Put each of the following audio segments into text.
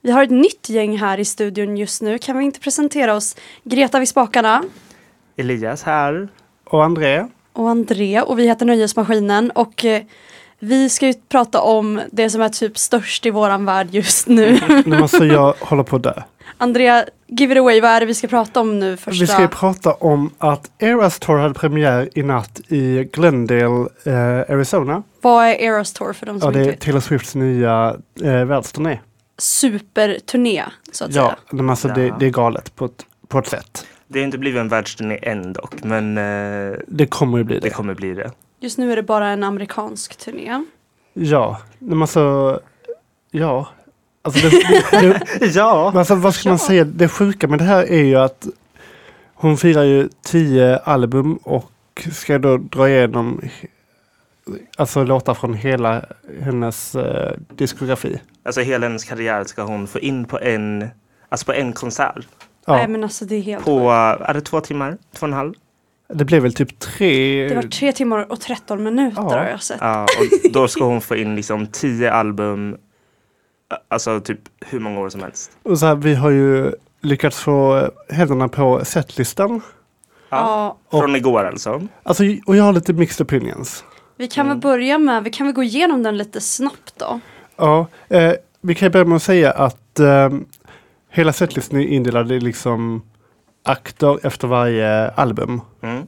Vi har ett nytt gäng här i studion just nu. Kan vi inte presentera oss? Greta vid spakarna Elias här. Och André. och André och vi heter Nöjesmaskinen och eh, vi ska ju prata om det som är typ störst i våran värld just nu. Nej, alltså jag håller på att dö. Andrea, give it away. Vad är det vi ska prata om nu första? Vi ska ju prata om att Eras Tour hade premiär i natt i Glendale, eh, Arizona. Vad är Eras Tour för de Ja, som det inte är vet? Taylor Swifts nya eh, världsturné. Superturné så att Ja, säga. men alltså det, Ja. det är galet på ett, på ett sätt. Det har inte blivit en världsturné än dock, men eh, Det kommer ju bli det det. kommer bli det. Just nu är det bara en amerikansk turné. Ja, men alltså, ja. Alltså, det, det, det, Ja! men alltså vad ska man Ja. säga, det sjuka med det här är ju att hon firar ju tio album och ska då dra igenom alltså låtar från hela hennes eh, diskografi. Alltså hela hennes karriär ska hon få in på en, alltså på en konsert. Nej Ja, men alltså det är helt... På, eh, är det två timmar? Två och en halv? det blev väl typ tre... Det var tre timmar och 13 minuter Ja. har jag sett. Ja, och då ska hon få in liksom tio album, eh, alltså typ hur många år som helst. Och så här, vi har ju lyckats få händerna på setlistan. Ja. Ja, Från igår alltså. Alltså, och jag har lite mixed opinions. vi kan Mm. väl börja med, vi kan väl gå igenom den lite snabbt då. Ja, eh, vi kan ju börja med att säga att eh, hela setlistan är indelad i liksom akter efter varje album. Mm.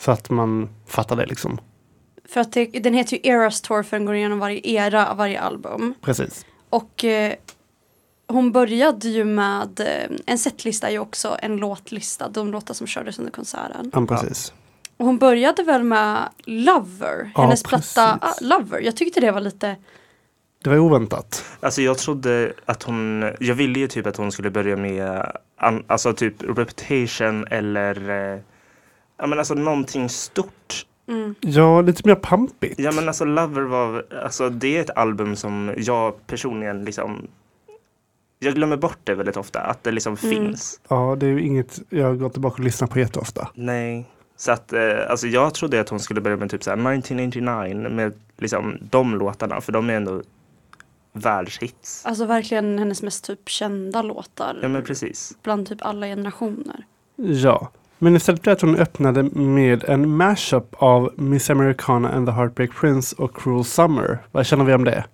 Så att man fattar det liksom. För att det, den heter ju Eras Tour för den går igenom varje era av varje album. Precis. Och eh, hon började ju med, eh, en setlista är ju också en låtlista, de låtar som kördes under konserten. Ja, precis. Och hon började väl med Lover, Ja, hennes platta ah, precis. Lover. Jag tyckte det var lite, Det var oväntat. Alltså jag trodde att hon, jag ville ju typ att hon skulle börja med an, alltså typ Reputation eller eh, ja men alltså någonting stort. mm, Ja, lite mer pampigt. Ja men alltså Lover var, alltså det är ett album som jag personligen liksom jag glömmer bort det väldigt ofta, att det liksom Mm. finns. Ja, det är ju inget jag går tillbaka och lyssnar på jätteofta. Nej. Så att, eh, alltså jag trodde att hon skulle börja med typ så här 1989 med liksom de låtarna, för de är ändå världshits. alltså verkligen hennes mest typ kända låtar. Ja men precis. Bland typ alla generationer. Ja. Men istället blev det att hon öppnade med en mashup av Miss Americana and the Heartbreak Prince och Cruel Summer. Vad känner vi om det?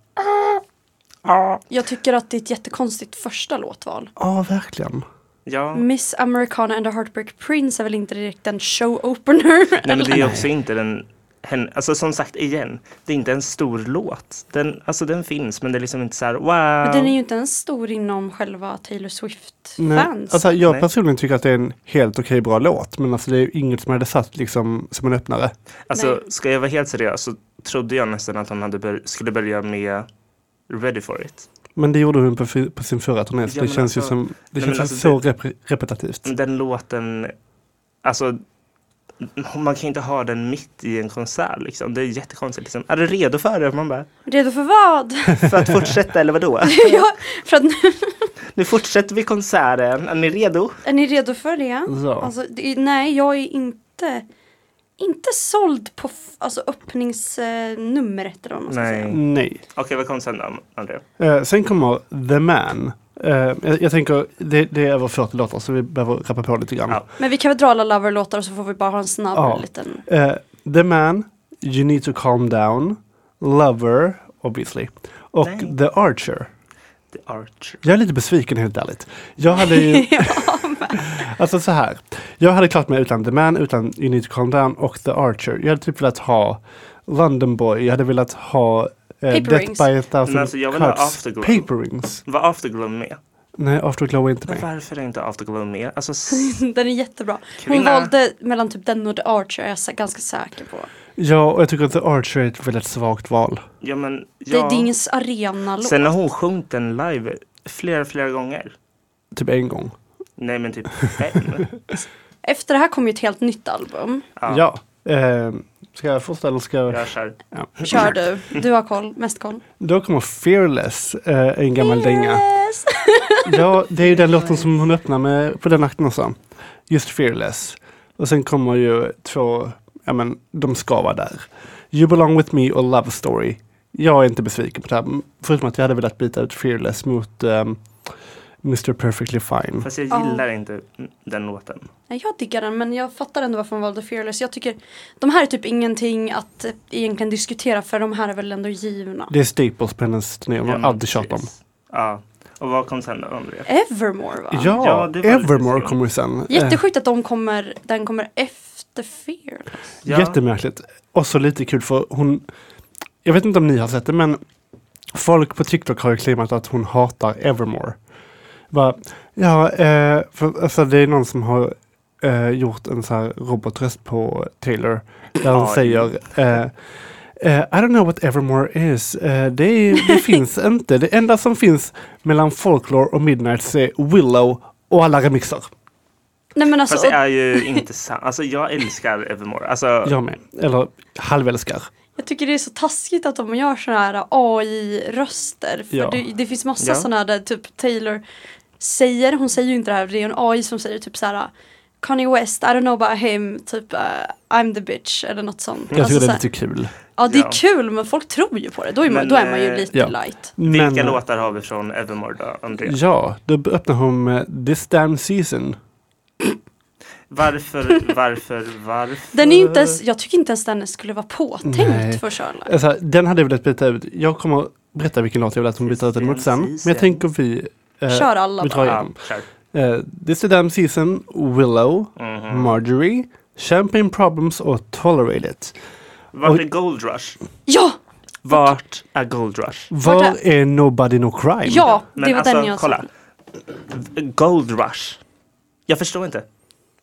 Jag tycker att det är ett jättekonstigt första låtval. Ja, verkligen. Ja. Miss Americana and the Heartbreak Prince är väl inte direkt en show opener? Nej men det är ju också Nej. inte den, hen, alltså som sagt igen, det är inte en stor låt. Den, alltså den finns men det är liksom inte så här wow. Men den är ju Ehm. inte ens stor inom själva Taylor Swift-fans. Alltså, jag Nej. personligen tycker att det är en helt okej bra låt, men alltså det är ju inget som hade satt liksom som en öppnare. Alltså Nej. ska jag vara helt seriös så trodde jag nästan att hon hade bör- skulle börja med Ready for it. Men det gjorde hon på, fi- på sin förra turné, så Ja, det men känns ju alltså- som, men det känns ju alltså Mm. så rep- repetitivt. Den låten, alltså man kan ju inte ha den mitt i en konsert liksom. Det är jättekonstigt liksom. Är du redo för det? Man bara, Redo för vad? för att fortsätta eller vadå? Alltså- ja, för att, Nu fortsätter vi konserten, är ni redo? är ni redo för det? Ja. Alltså, det, nej, jag är inte, inte såld på f- alltså, öppningsnumret eller vad man ska Nej. säga. Nej. Okej vad kom sen då André? Eh, sen kommer The Man. Eh, jag, jag tänker, det, det är över 40 låtar så vi behöver rappa på lite grann. Ja. Men vi kan väl dra alla Lover-låtar och så får vi bara ha en snabb Ja. liten... Eh, The Man, You Need To Calm Down, Lover, obviously, och Nej. The Archer. The Archer. Jag är lite besviken helt ärligt. Jag hade ju, ja, alltså så här. Jag hade klart mig utan The Man, utan You Need To Calm Down och The Archer. Jag hade typ velat ha London Boy, jag hade velat ha eh, Paper Death Rings. by a thousand Men alltså, jag vill ha Cuts. Afterglow. Paper Rings. Var Afterglow med? Nej, Afterglow är inte Men med. varför är inte Afterglow med? Alltså, s- den är jättebra. Hon Kvinna. valde mellan typ den och The Archer, är jag sä- ganska säker på. Ja, och jag tycker att The Archer är ett väldigt svagt val. ja men... Det Ja. är Dings arena-låt. Sen har hon sjungit den live flera, flera gånger. Typ en gång. Nej men typ fem. Efter det här kommer ju ett helt nytt album. Ja, Ja. Eh, ska jag fortsätta eller ska jag? Jag kör. Ja. Kör du. Du har koll, mest koll. Då kommer Fearless, eh, en gammal dänga. Yes. Ja, det är ju den låten som hon öppnar med på den akten också. Just Fearless. Och sen kommer ju två, ja men de ska vara där. You belong with me och Love Story. Jag är inte besviken på det här, m- förutom att jag hade velat byta ut Fearless mot ehm, Mr Perfectly Fine. Fast jag Ja. gillar inte den låten. Nej, Jag diggar den men jag fattar ändå varför hon valde Fearless. Jag tycker de här är typ ingenting att eh, egentligen diskutera för de här är väl ändå givna. Det är Staples på hennes turné, hon Ja, har men aldrig tjatat om. precis. Ja. Och vad kom sen då, Andrea? Evermore va? Ja, Ja, det var lite Evermore synd. kommer sen. Eh, Jättesjukt att de kommer, den kommer efter Fearless. Ja. Jättemärkligt. Och så lite kul för hon, jag vet inte om ni har sett det men folk på TikTok har ju claimat att hon hatar Evermore. Bara, ja, eh, för, alltså det är någon som har eh, gjort en så här robotröst på Taylor. Där hon Aj. säger eh, eh, I don't know what Evermore is. Eh, det, är, det finns inte. Det enda som finns mellan Folklore och Midnight är Willow och alla remixer. Nej men alltså, Fast det är ju inte sant. Alltså jag älskar Evermore. Alltså, Jag med. Eller halvälskar. jag tycker det är så taskigt att de gör sådana här AI-röster. För Ja. det, det finns massa Ja. sådana här där typ Taylor säger, hon säger ju inte det här, det är en AI som säger typ så här Kanye West, I don't know about him, typ eh, I'm the bitch eller något sånt. Mm. Jag tycker Alltså det så är här- lite kul. Ja det är Ja. kul men folk tror ju på det. Då är man, Men, då är man ju eh, lite ja. light. vilka Men- låtar har vi från Evermore då, Andrea? Ja, då öppnar hon med This Damn Season. Varför, varför, varför? Den är ju inte ens, jag tycker inte ens den skulle vara påtänkt Eh. Nej. för Sherlock. Alltså, den hade jag velat byta ut. Jag kommer berätta vilken låt jag vill att hon This byter ut den mot Damn sen. Men Season. jag tänker vi... eh, Kör alla vi bara. drar Ja, igen. kör. eh, This Damn Season, Willow, Mhm. Marjorie, Champagne Problems och Tolerate It. Vart är Gold Rush? Ja! Vart är Gold Rush? Var Vart är Nobody No Crime? Ja, det Men var alltså, den jag kolla. sa. Gold Rush. Jag förstår inte.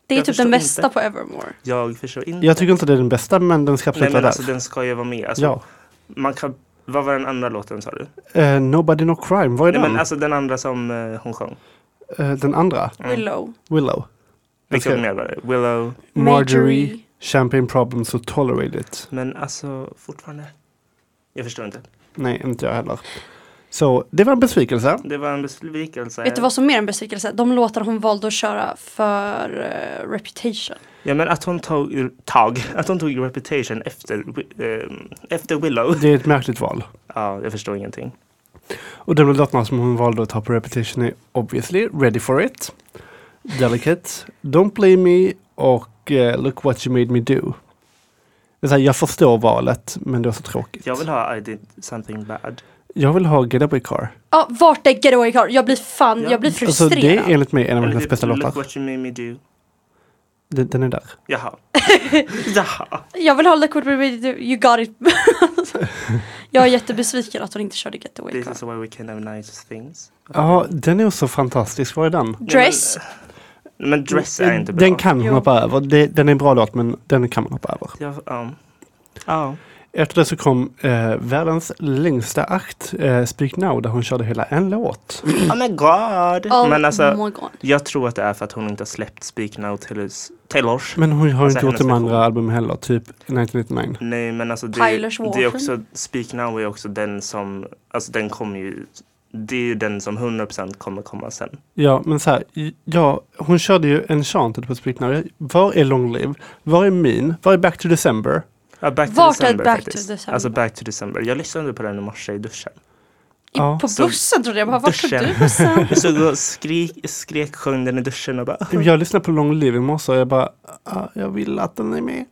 Det är jag typ förstår den bästa inte. på Evermore. Jag förstår inte. Jag tycker inte det är den bästa, men den ska Nej absolut men vara alltså där. den ska ju vara med. Alltså, Ja. man kan, vad var den andra låten sa du? Eh, Nobody No Crime, vad är Nej, den? men alltså den andra som eh, hon sjöng. Eh, den andra, Mm. Willow. Willow, Vilka Okej. mer var det? Willow. Marjorie, Champagne Problems och Tolerate It. Men alltså fortfarande. Jag förstår inte. Nej, inte jag heller. Så det var en besvikelse. Det var en besvikelse. Vet du vad som mer är en besvikelse? De låtar hon valde att köra för eh, Reputation. Ja men att hon tog, tag, att hon tog Reputation efter, eh, efter Willow. Det är ett märkligt val. Ja, jag förstår ingenting. Och de låtarna som hon valde att ta på repetition är obviously Ready for it, Delicate, Don't play me och eh, Look what you made me do. Det är så här, jag förstår valet, men det var så tråkigt. Jag vill ha I did something bad. jag vill ha Get Away Car. Ja, vart är Getaway Car? Jag blir fan, Ja. jag blir Alltså, frustrerad. det är enligt mig en av Eller hennes typ, bästa Look låtar. what you made me do. Den, den är där. Jaha. Jaha. Jag vill ha Liquid Remedy, you got it. jag är jättebesviken att hon inte körde Getaway This Car. is why we can have nice things. Ja, den är så fantastisk. Var är den? Dress. Men, men dress är inte bra. Den kan hon Jo. hoppa över. Det, den är en bra låt, men den kan man hoppa över. Ja. ja. Ja. Efter det så kom eh, världens längsta akt, eh, Speak Now, där hon körde hela en låt. Oh my god. Oh men alltså, my god. jag tror att det är för att hon inte har släppt Speak Now Taylors. Taylors. Men hon har Alltså, inte gjort hennes de version. andra albumen heller, typ 1999. Nej men alltså det, Tyler's det är Walton. också, Speak Now är också den som, alltså den kommer ju, det är ju den som 100% kommer komma sen. Ja, men så här, i- ja, hon körde ju Enchanted på Speak Now. Jag- Var är Long Live? Var är Mean? Var är Back to December? Ja, back to Vart är December Back to faktiskt. December? Alltså Back to December. Jag lyssnade på den i morse i duschen. I, Ja. på Så- bussen trodde jag, bara, vart tog du Duschen. bussen? Jag stod och skrik, skrek, sjöng den i duschen och bara Jag lyssnade på Long Live i morse och jag bara, ah, jag vill att den är med.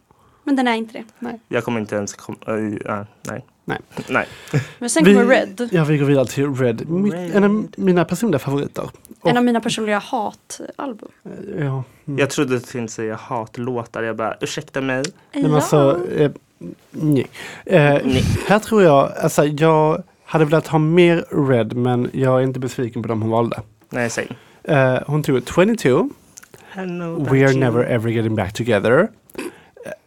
Men den är inte det. Jag kommer inte ens komma, äh, nej. Nej. Nej. Men sen Vi- kommer Red. Ja, vi går vidare till Red, mitt, Red. en av mina personliga favoriter. En av mina personliga hatalbum. Eh, Ja. Mm. Jag trodde att du skulle säga hatlåtar. Jag bara ursäkta mig. Nej, men alltså, eh, nej. Eh, Nej. Här tror jag, alltså jag hade velat ha mer Red men jag är inte besviken på dem hon valde. Nej, säg. Eh, hon tog 22, Hello, We are never ever getting back together,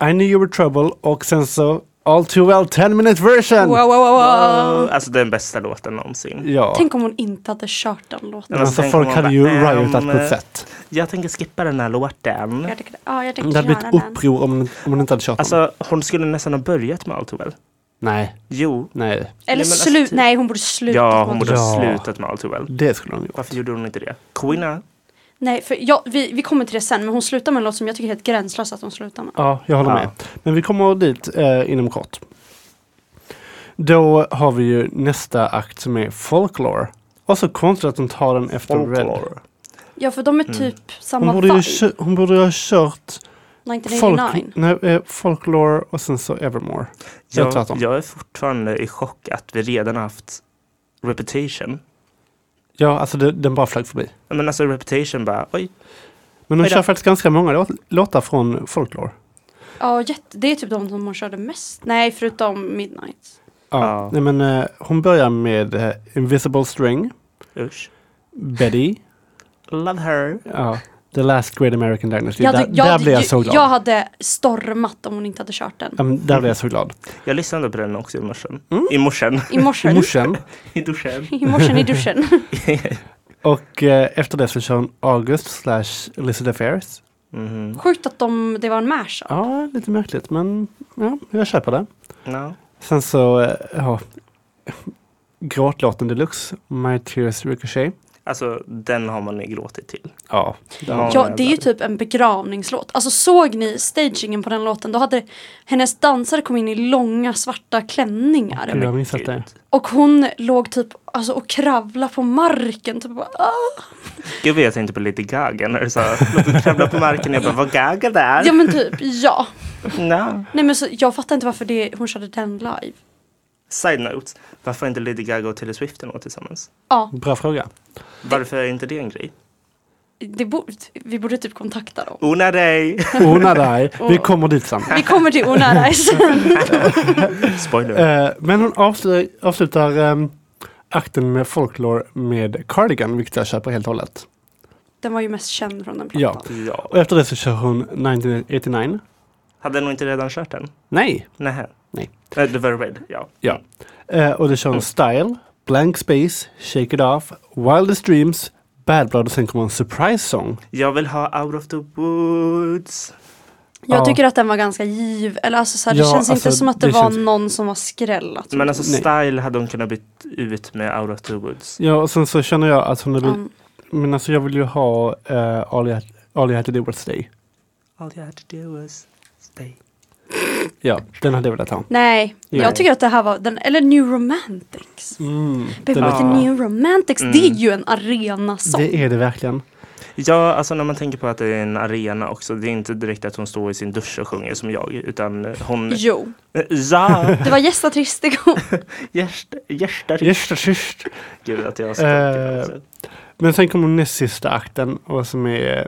I knew you were trouble och sen så All too well 10 minute version! wow, wow, wow, wow. Wow. Alltså den bästa låten någonsin. Ja, Tänk om hon inte hade kört den låten. Ja. men alltså tänk folk om hade man ju bara, riotat på ehm, ett sätt. Jag tänker skippa den här låten. Jag tänker, ja, jag Det tänker hade blivit göra den. uppror om, om hon inte hade kört dem. Alltså hon skulle nästan ha börjat med Allt väl. Nej, Jo. nej, typ- Eller Nej, men slut, alltså- nej hon borde sluta. Ja, hon borde ha Ja. slutat med Allt väl. det skulle hon gjort. Varför gjorde hon inte det? Queena. Nej, för jag, vi, vi kommer till det sen, men hon slutar med en låt som jag tycker är helt gränslös att hon slutar med. Ja, jag håller Ja. med. Men vi kommer dit eh, inom kort. Då har vi ju nästa akt som är Folklore. Och så konstigt att de tar den efter Red. Folklore. Ja, för de är Mm. typ samma Hon borde, ju, vibe. kö- hon borde ju ha kört folk, 1989. nej, eh, Folklore och sen så Evermore. Jag tror Jag, att de- jag är fortfarande i chock att vi redan haft Reputation. Ja, alltså det, den bara flög förbi. Ja, Men alltså Reputation bara, oj. Men de Oj då. kör faktiskt ganska många låt, låtar från Folklore. Ja, jätte, det är typ de som hon körde mest. Nej, förutom Midnight. Ja. Ja. Nej, men, eh, hon börjar med eh, Invisible String, Usch. Betty, Love her. ja, The Last Great American Dynasty. Jag hade, Typ där, jag, där hade- blev jag så glad. jag hade stormat om hon inte hade kört den. Ja, men där blev jag så glad. Jag lyssnade på den också i morse. Mm. I morse. I morse. Morsen. I duschen. I morse i duschen. Och eh, efter det så kör hon August slash Elizabeth Affairs. Mhm. Sjukt att de, det var en mash. alltså. Ja, lite märkligt men ja, jag köper det. Ja. Sen så, eh, ja, gråtlåten deluxe, My Tears Ricochet. Alltså den har man ju gråtit till. Ja, det har- Ja, det är ju typ en begravningslåt. Alltså såg ni stagingen på den låten? Då hade hennes dansare kom in i långa svarta klänningar. Gud, jag har missat det. Gud. Och hon låg typ alltså, och kravlade på marken. Typ, bara, "Ah." Gud vad jag tänkte på Lady Gaga när du sa låt det kravla på marken. Jag bara, var Gaga där? ja men typ, ja. No. Nej men så, jag fattar inte varför det, hon körde den live. Side note. Varför är inte Lady Gaga och Taylor Swift en låt tillsammans? Ja, Bra fråga. Varför är inte det en grej? det borde, vi borde typ kontakta dem. Ona dig! Ona dig, vi Och- kommer dit sen. Vi kommer till Onara sen. Spoiler. Eh, men hon avslutar, avslutar ehm, akten med Folklore med Cardigan, vilket jag köper helt och hållet. Den var ju mest känd från den Ja. plattan. Ja. Och efter det så kör hon 1989. Hade nog inte redan kört den? Nej! Nähä. Nej. Eh, Det var Red, ja. Ja. Eh, och det kör hon Mm. Style, Blank Space, Shake It Off, Wildest Dreams, Bad Blood och sen kommer en surprise song. Jag vill ha Out of the Woods. Jag Ja. tycker att den var ganska giv, eller alltså så här, det Ja, känns alltså, inte som att det, det var känns- någon som var skräll. Att Men alltså Nej. Style hade hon kunnat byta ut med Out of the Woods. Ja, och sen så känner jag att hon är... väl- um, Men alltså jag vill ju ha eh, All, you, all you had to do was stay. All you had to do was stay. Ja, den hade jag velat ha. nej, Nej. jag tycker att det här var den, eller New Romantics. Mm, Baby den with låter- the är, Ja. New Romantics, Mm. det är ju en arenasång. det är det verkligen. Ja, alltså när man tänker på att det är en arena också. Det är inte direkt att hon står i sin dusch och sjunger som jag, utan hon... Jo, Ja! det var gästatristico. Gäst, gästar. Just, det, just. Gud att jag skakar. Eh, alltså. Men sen kommer näst sista akten och som är... eh,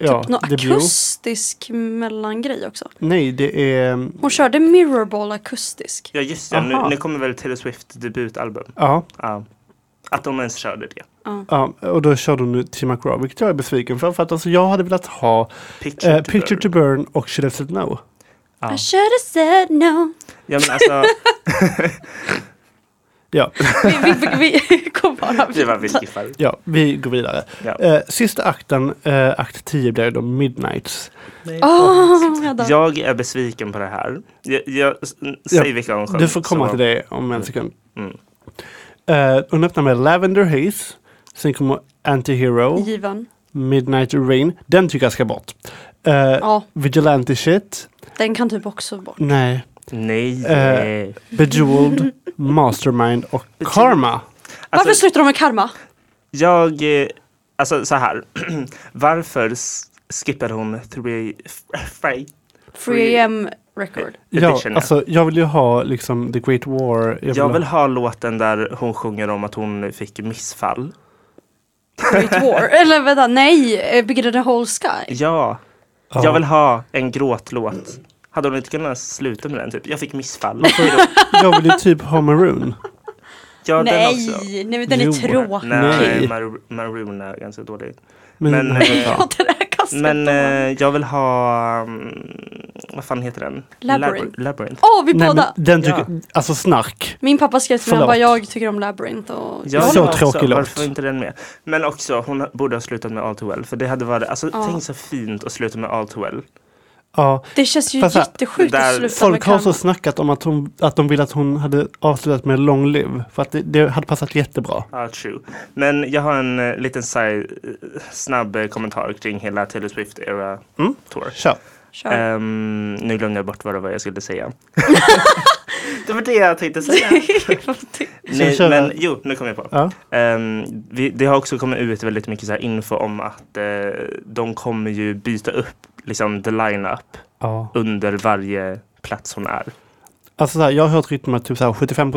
Ja, Typ Någon det blir- akustisk mellangrej också. Nej, det är... Hon körde Mirrorball akustisk. Ja, just det. Nu, aha. nu kommer väl Taylor Swift debutalbum. Ja, Ja. Att de ens körde det. Ja. ja, och då körde hon nu Tim McGraw, vilket jag är besviken för. För att alltså, jag hade velat ha Picture, eh, Picture to Burn. Burn och Should Have Said No. Ja. I should have said no. Ja, men alltså, Ja, Vi, vi, vi kom bara det var vi vidare. skiffar. ja vi går vidare. Ja. Eh, sista akten, eh, akt 10, blir då Midnights. Åh, jag dör. Jag är besviken på det här. Jag, jag, s- säg Ja, vilka hon sjöng, Du får komma så- till det om en sekund. Mm. Eh, hon öppnar med Lavender Haze, sen kommer Antihero, Given. Midnight Rain. Den tycker jag ska bort. Eh, Ja, Vigilante Shit, den kan typ också bort. nej. Nej. Eh, Bejeweled, Mastermind och Bejeweled. Karma. Varför Alltså, slutar de med karma? jag... eh, Alltså så här. Varför s- skippade hon Three... Frey? Free- 3am record. Ja, Edition, ja. alltså jag vill ju ha liksom The Great War. Jag vill ha låten där hon sjunger om att hon fick missfall. Great War. Eller vänta, nej! eh, Bigger than the whole sky. Ja, Ja. jag vill ha en gråtlåt. Hade hon inte kunnat sluta med den typ? Jag fick missfall. jag vill ju typ ha Maroon. Ja, den nej, också. nej men den är Jo. tråkig. Nej, Nej. Mar- Maroon är ganska dålig. Men, Men, men, eh, Ja, den här kastet. Men eh, jag vill ha... mm, vad fan heter den? Labyrinth. Labr- Labyrinth. Åh, vi nej, men båda! den tycker, Ja. alltså snark. Min pappa skrev till mig vad Förlåt. jag tycker om Labyrinth och... Jag Så håller med också. tråkig låt. Varför inte den med? Men också, hon borde ha slutat med All Too Well. För det hade varit, alltså Ja. tänk så fint att sluta med All Too Well. Ja, Det känns ju Fast här, jättesjukt där att sluta med folk har karma. så snackat om att, hon, att de vill att hon hade avslutat med Long Live. För att det, det hade passat jättebra. Ja, true. Men jag har en eh, liten side, snabb eh, kommentar kring hela Taylor Swift era Mm. tour. Kör. Kör. Eh, Ehm, nu glömde jag bort vad det var jag skulle säga. Det var det jag tänkte säga. Ska vi Nej, köra? men jo, nu kommer jag på. Ja. Ehm, vi, det har också kommit ut väldigt mycket så här info om att eh, de kommer ju byta upp liksom the line-up ja. under varje plats hon är. Alltså så här, jag har hört rytmen att typ så här, 75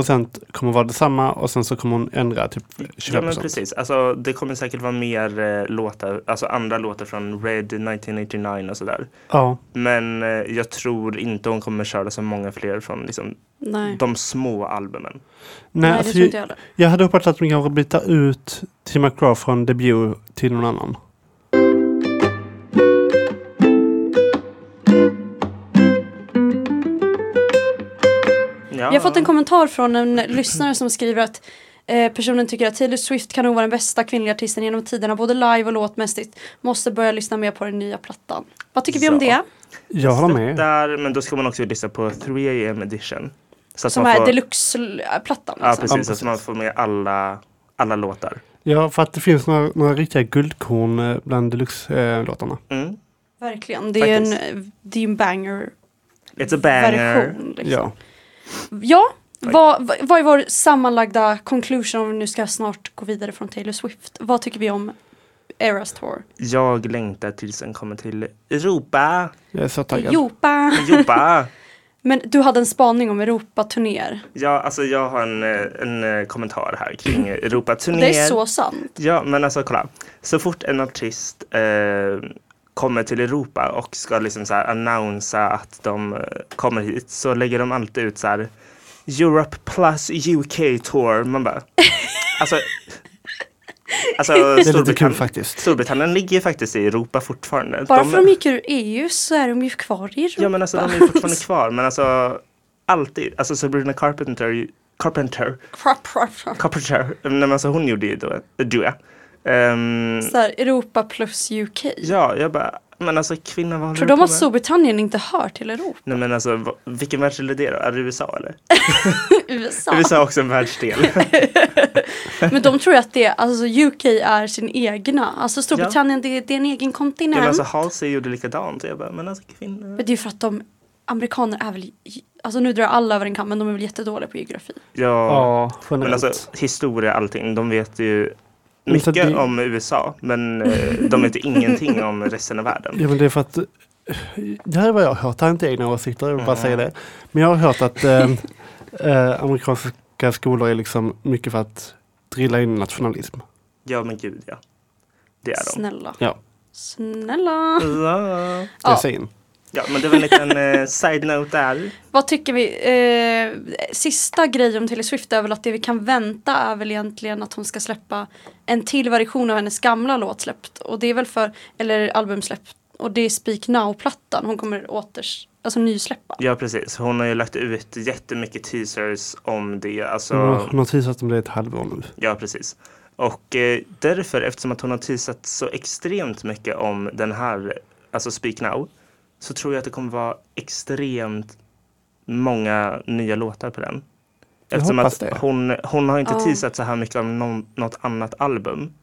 kommer vara detsamma och sen så kommer hon ändra typ 25 Ja men precis, alltså, det kommer säkert vara mer eh, låtar, alltså andra låtar från Red 1989 och sådär. Ja, Men eh, jag tror inte hon kommer köra så många fler från liksom, Nej. de små albumen. nej, Nej, det alltså, tror inte jag, jag heller. jag hade hoppats att de kanske byta ut Tim McGraw från debut till någon annan. Jag har fått en kommentar från en lyssnare som skriver att eh, personen tycker att Taylor Swift kan nog vara den bästa kvinnliga artisten genom tiderna, både live och låtmässigt. Måste börja lyssna mer på den nya plattan. Vad tycker vi om Så. det? Jag håller med. Där, men då ska man också lyssna på 3AM edition. Så att Som man är får, deluxe-plattan. Ja Liksom. precis, Ja, så att precis. man får med alla, alla låtar. Ja, för att det finns några, några riktiga guldkorn eh, bland eh, deluxe-låtarna. Mm. Verkligen. Det är ju Faktiskt. en, eh, det är en banger. It's a banger. Version, liksom. Ja. Ja, vad, vad- vad är vår sammanlagda conclusion om vi nu ska snart gå vidare från Taylor Swift? Vad tycker vi om Eras Tour? Jag längtar tills den kommer till Europa. Jag är så taggad. Europa! Europa. Men du hade en spaning om Europaturnéer. ja, alltså jag har en, eh, en eh, kommentar här kring Europaturnéer. Det är så sant. Ja, men alltså kolla. Så fort en artist eh, kommer till Europa och ska liksom så här annonsa att de eh, kommer hit så lägger de alltid ut så här Europe plus UK tour. Man bara, alltså, alltså Det är lite kul Storbritannien, faktiskt. Storbritannien ligger ju faktiskt i Europa fortfarande. Bara för att de gick ur EU så är de ju kvar i Europa. Ja men alltså de är ju fortfarande kvar men alltså alltid, alltså Sabrina Carpenter, Carpenter, Crap, crap, crap. Carpenter, nej men alltså hon gjorde ju då en duo. Ehm, Så här, Europa plus UK. ja, jag bara, men alltså kvinna vad håller Tror du de på att med? Storbritannien inte hör till Europa? Nej men alltså va- vilken världsdel är det då? Är det USA eller? USA. USA är också en världsdel. Men de tror ju att det är, alltså UK är sin egna. Alltså Storbritannien det, det är en egen ja, men kontinent. alltså Halsey gjorde likadant och jag bara, men alltså kvinna. Men det är ju för att de, amerikaner är väl, alltså nu drar jag alla över en kam men de är väl jättedåliga på geografi. Ja, Ja, men generellt. alltså historia allting, de vet ju Men så mycket det- om USA men eh, de vet ju ingenting om resten av världen. Ja, men det är för att det här är vad jag har hört. Jag har inte egna åsikter, jag vill bara Mm. säga det. Men jag har hört att eh, eh, amerikanska skolor är liksom mycket för att drilla in nationalism. Ja men gud ja. Det är de. Snälla. Ja. Snälla. Ja. Ja. Dressa in. Ja men det var en liten eh, side note där. Vad tycker vi? Eh, sista grej om Taylor Swift är väl att det vi kan vänta är väl egentligen att hon ska släppa en till version av hennes gamla låt släppt. Och det är väl för, eller album släppt. Och det är Speak Now-plattan hon kommer åters, alltså nysläppa. Ja precis, hon har ju lagt ut jättemycket teasers om det. Alltså, Mm, Hon har teasat om det i ett halvår nu. Ja precis. Och eh, därför, eftersom att hon har teasat så extremt mycket om den här, alltså Speak Now, så tror jag att det kommer vara extremt många nya låtar på den. Jag Eftersom hoppas att det. hon, hon har inte Ja. teasat så här mycket om någon, något annat album.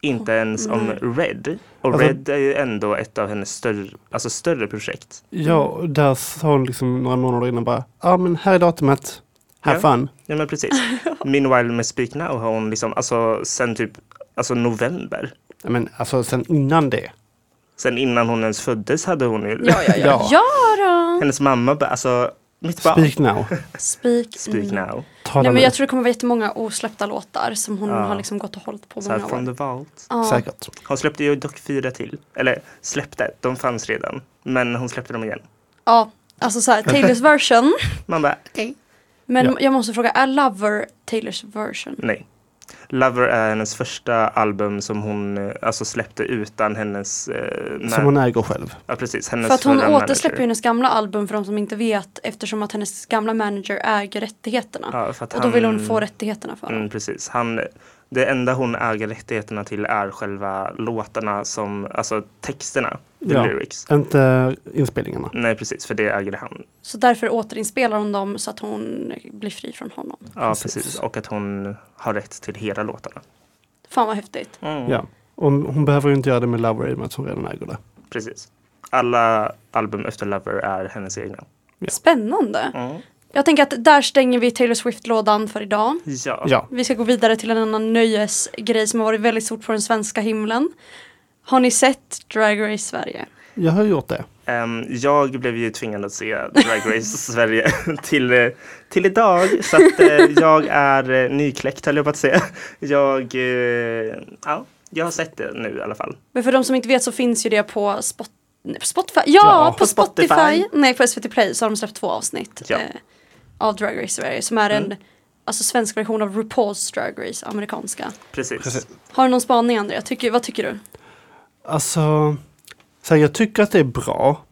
Inte ens nej. om Red. Och Alltså- Red är ju ändå ett av hennes större, alltså större projekt. Ja, och där sa hon liksom några månader innan bara, ja men här är datumet, have Ja. fun. Ja men precis. Meanwhile med Speak Now har hon liksom, alltså sen typ, alltså november. Ja, men alltså sen innan det. Sen innan hon ens föddes hade hon ju, Ja, ja, ja. Ja. Ja då! hennes mamma bara, alltså mitt barn. Speak, Speak now. Speak, Mm. Now. Tala Nej, men nu. jag tror det kommer vara jättemånga osläppta låtar som hon Ja. har liksom gått och hållit på Så här, många from år. the vault. Ja. Säkert. Hon släppte ju dock fyra till. Eller släppte, de fanns redan. Men hon släppte dem igen. Ja, alltså såhär Taylors version. Man bara, Men Ja. jag måste fråga, är Lover Taylors version? nej. Lover är hennes första album som hon eh, alltså släppte utan hennes... Eh, man- Som hon äger själv. ja, precis, hennes För att hon förra manager. återsläpper ju hennes gamla album för de som inte vet eftersom att hennes gamla manager äger rättigheterna. Ja, för att Och då vill hon han- få rättigheterna för dem. Mm, precis. Han, det enda hon äger rättigheterna till är själva låtarna, som, alltså texterna, the Ja. lyrics. Inte inspelningarna. Nej, precis, för det äger han. Så därför återinspelar hon dem så att hon blir fri från honom. Ja, Precis. precis. Och att hon har rätt till hela låtarna. Fan vad häftigt. Mm. Ja. Och hon behöver ju inte göra det med Lover i och med att hon redan äger det. Precis. Alla album efter Lover är hennes egna. Ja. Spännande. Mm. Jag tänker att där stänger vi Taylor Swift-lådan för idag. Ja. Ja. Vi ska gå vidare till en annan nöjesgrej som har varit väldigt stort på den svenska himlen. Har ni sett Drag Race Sverige? Jag har gjort det. Ehm, jag blev ju tvingad att se Drag Race Sverige till, eh, till idag. Så att eh, jag är eh, nykläckt höll jag på att säga. Jag, eh, ja, jag har sett det nu i alla fall. Men för de som inte vet så finns ju det på Spot nej, på Spotify. Ja, Ja, på, på Spotify. Spotify. Nej, på SVT Play så har de släppt två avsnitt Ja. Mm. eh, av Drag Race Sverige som är en alltså, svensk version av RuPaul's Drag Race, amerikanska. Precis. Precis. Har du någon spaning Andrea? Tycker, vad tycker du? Alltså, så här, jag tycker att det är bra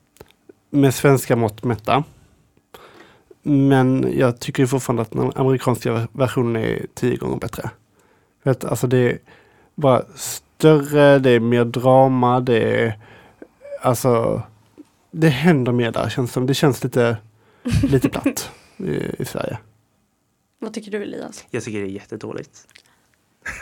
med svenska mått mätta. Men jag tycker ju fortfarande att den amerikanska ver- versionen är tio gånger bättre. Vet, alltså det är bara större, det är mer drama, det är alltså det händer mer där känns som. Det känns lite, lite platt i, i Sverige. Vad tycker du Elias? Jag tycker det är jättedåligt.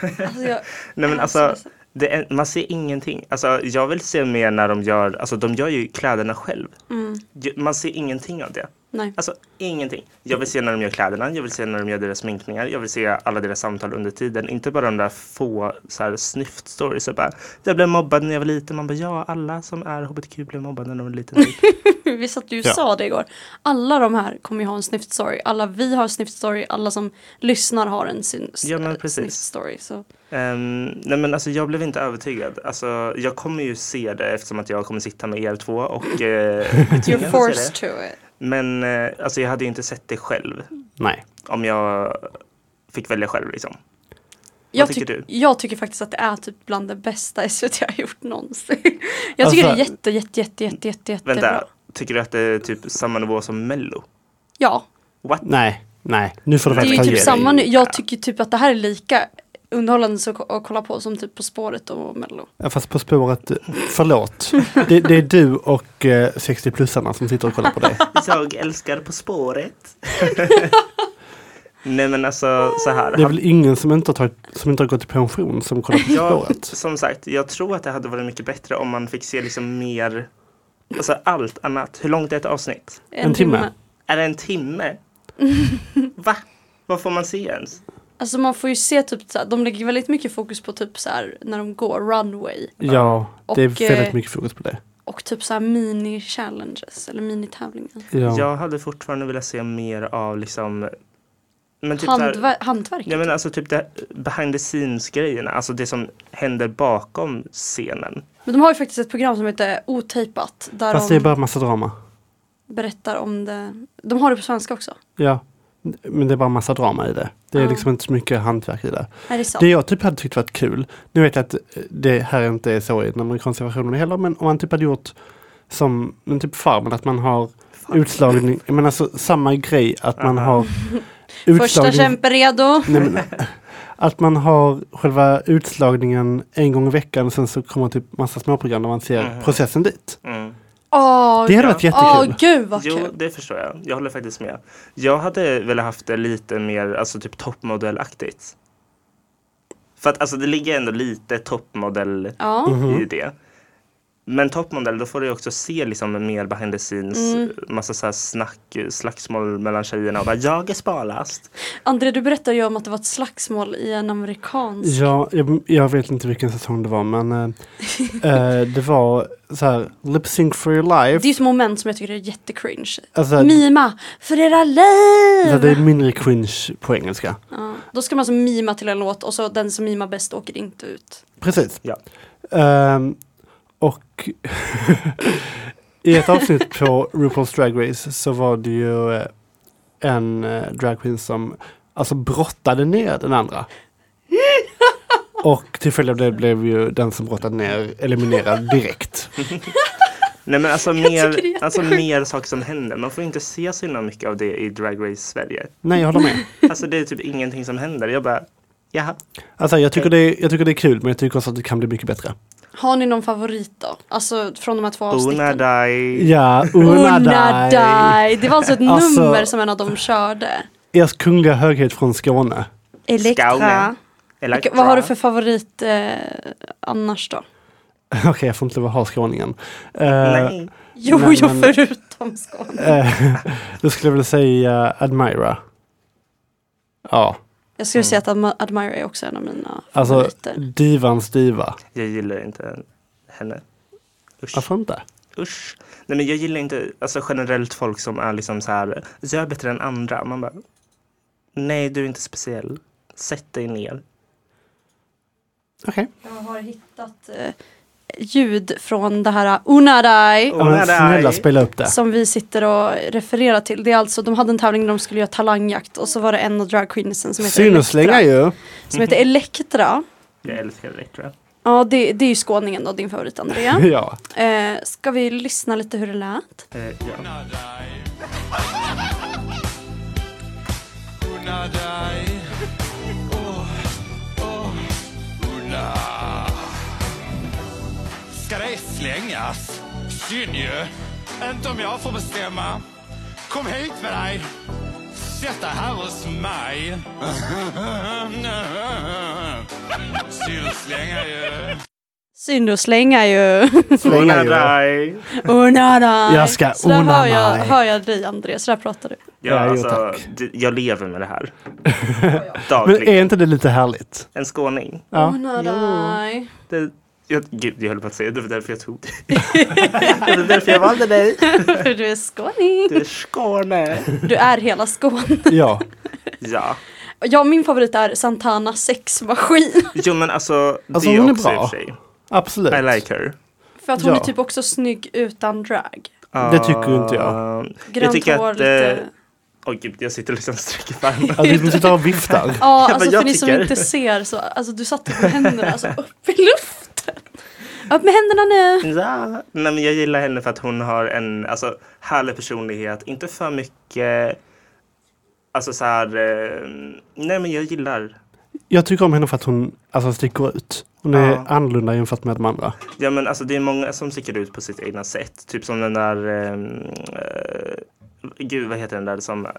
Alltså, jag, Nej men jag alltså, måste- det är, man ser ingenting. Alltså, jag vill se mer när de gör, alltså de gör ju kläderna själv. mm, Ju- Man ser ingenting av det. nej. Alltså ingenting. Jag vill se när de gör kläderna, jag vill se när de gör deras sminkningar, jag vill se alla deras samtal under tiden. Inte bara de där få så här, snyft-stories. och bara, Jag blev mobbad när jag var liten. Man bara ja, alla som är hbtq blev mobbade när de var liten. typ. Vi satt ju och Ja. sa det igår. Alla de här kommer ju ha en snyftstory. Alla vi har en snyftstory. Alla som lyssnar har en sin Ja, men precis. snyftstory. Så. Ehm, nej men alltså jag blev inte övertygad. Alltså, jag kommer ju se det eftersom att jag kommer sitta med er två och uh, You're forced to it. Men eh, alltså, jag hade ju inte sett det själv Nej. om jag fick välja själv liksom. Jag, tycker tyck- du? jag tycker faktiskt att det är typ bland det bästa SVT har gjort någonsin. Jag tycker det Alltså- är jätte, jätte, jätte, jätte, jätte, jättebra. Vänta, tycker du att det är typ samma nivå som Mello? Ja, What? Nej, nej. Nu får du det är Vänta, ju verkligen typ ge dig. samma nu. Ja. Jag tycker typ att det här är lika underhållande så- att kolla på som typ På spåret och Mello. Ja, fast På spåret, eh, förlåt. Det, det är du och eh, 60-plussarna som sitter och kollar på dig. Jag älskar På spåret. Nej men alltså så här. Det är väl ingen som inte har, tagit, som inte har gått i pension som kollar På jag, spåret? som sagt, jag tror att det hade varit mycket bättre om man fick se liksom mer, alltså allt annat. Hur långt är ett avsnitt? En, timme. Är det en timme? Va? Vad får man se ens? Alltså man får ju se typ så här, de lägger väldigt mycket fokus på typ så här när de går runway Ja, det är Och, eh, väldigt mycket fokus på det. och typ så här mini challenges eller mini tävlingar. Ja. Jag hade fortfarande velat se mer av liksom, men typ så här- Handver- hantverk. Nej men alltså typ det behind the scenes grejerna, alltså det som händer bakom scenen. Men de har ju faktiskt ett program som heter Otejpat där Fast det de är bara massa drama. berättar om det. De har det på svenska också. Ja, men det är bara massa drama i det. Det är Ja. liksom inte så mycket hantverk i det. Är det sant? Det jag typ hade tyckt varit kul, nu vet jag att eh, det här inte är så i den amerikanska versionen heller, men om man typ hade gjort som men typ Farmen, att man har utslagning, men alltså samma grej att man Aha. har Första utslagning, kämpe redo. nej, men, att man har själva utslagningen en gång i veckan och sen så kommer typ massa småprogram där man ser Mhm. processen dit. Mm. Åh, Det hade Ja. varit jättekul. åh, gud vad Jo, kul. det förstår jag. Jag håller faktiskt med. Jag hade velat haft det lite mer, alltså typ toppmodellaktigt. För att alltså det ligger ändå lite toppmodell Ja. Mm-hmm. i det. Men toppmodell, då får du ju också se liksom mer behind the scenes, Mm. massa så här snack, slagsmål mellan tjejerna och bara jag är smalast. André, du berättade ju om att det var ett slagsmål i en amerikansk. Ja, jag, jag vet inte vilken säsong det var men eh, eh, det var så här Lip Sync for your Det är ju life. ett moment som jag tycker är jättecringe. Alltså, Mima för era så det liv! är mindre cringe på engelska. Ja. Då ska man alltså mima till en låt och så den som mimar bäst åker inte ut. Precis. Ja. Ehm, och i ett avsnitt på RuPaul's Drag Race så var det ju eh, en eh, drag queen som alltså brottade ner den andra. Och till följd av det blev ju den som brottade ner eliminerad direkt. Nej men alltså tycker det är mer, alltså mer saker som händer. Man får inte se så himla mycket av det i Drag Race Sverige. Nej, jag håller med. Alltså det är typ ingenting som händer. Jag bara, jaha. Alltså, jag, tycker det är, jag tycker det är kul men jag tycker också att det kan bli mycket bättre. Har ni någon favorit då? Alltså från de här två avsnitten? Onadai. Ja, Unadai. Onadai. Det var alltså ett Alltså- nummer som en av dem körde. Ers kungliga höghet från Skåne. Elektra. Skåne. Okej, vad har du för favorit eh, annars då? Okej, jag får inte lov att ha skåningen. Eh, Nej. Jo, Men- jo, men- förutom Skåne. eh, då skulle jag vilja säga Admira. Ja, Jag skulle Mm. säga att Admi- Admira är också en av mina Alltså, favoriter. divans diva. Jag gillar inte henne. Usch. Varför inte? Usch. Nej men jag gillar inte alltså, generellt folk som är liksom så här, jag är bättre än andra. Man bara, nej du är inte speciell. Sätt dig ner. Okej. Jag har hittat eh, ljud från det här eh, Unadai. Ja, men snälla spela upp det. Som vi sitter och refererar till. Det är alltså, de hade en tävling där de skulle göra talangjakt och så var det en av dragqueensen som heter Synoslänga Elektra. ju. Som heter Elektra. Jag älskar Elektra. Ja, det, det är ju skåningen då, din favorit Andrea. Ja. Eh, ska vi lyssna lite hur det lät? Eh, ja. Unadai. Unadai. Oh, oh, una. Ska det slängas? Synd ju. Inte om jag får bestämma. Kom hit med dig. Sätt dig här hos mig. Synd att slänga ju. Synd att slänga ju. Slänga ju. Unadai. Unadai. Jag ska Så där hör jag, unadai. hör jag dig Andrea, så där pratar du. Ja, Ja, jo, alltså, tack. d- jag lever med det här. Men Dagligen. är inte det lite härligt? En skåning. Ja. Unadai. Det, jag, gud, jag höll på att säga det var därför jag tog dig. det var därför jag valde dig. För du är skåning. Du är Skåne. Du är hela Skåne. Ja. Ja. Ja, min favorit är Santana sexmaskin. Jo men alltså, Alltså, det hon är också i bra. och för sig. Absolut. I like her. För att hon Ja. är typ också snygg utan drag. Det tycker ju inte jag. Ah, jag Grönt tycker hår, att... lite... eh, Åh gud, jag sitter liksom och sträcker på armarna. Alltså du sitter och viftar. Ja, men alltså jag för ni som tycker- inte ser så, alltså du satte med händerna alltså upp i luften. Upp med händerna nu! Ja, nej men jag gillar henne för att hon har en alltså, härlig personlighet. Inte för mycket, alltså så här, eh, nej men jag gillar. Jag tycker om henne för att hon alltså, sticker ut. Hon är Ja. annorlunda jämfört med de andra. Ja men alltså det är många som sticker ut på sitt egna sätt. Typ som den där, eh, eh, gud vad heter den där som, eh,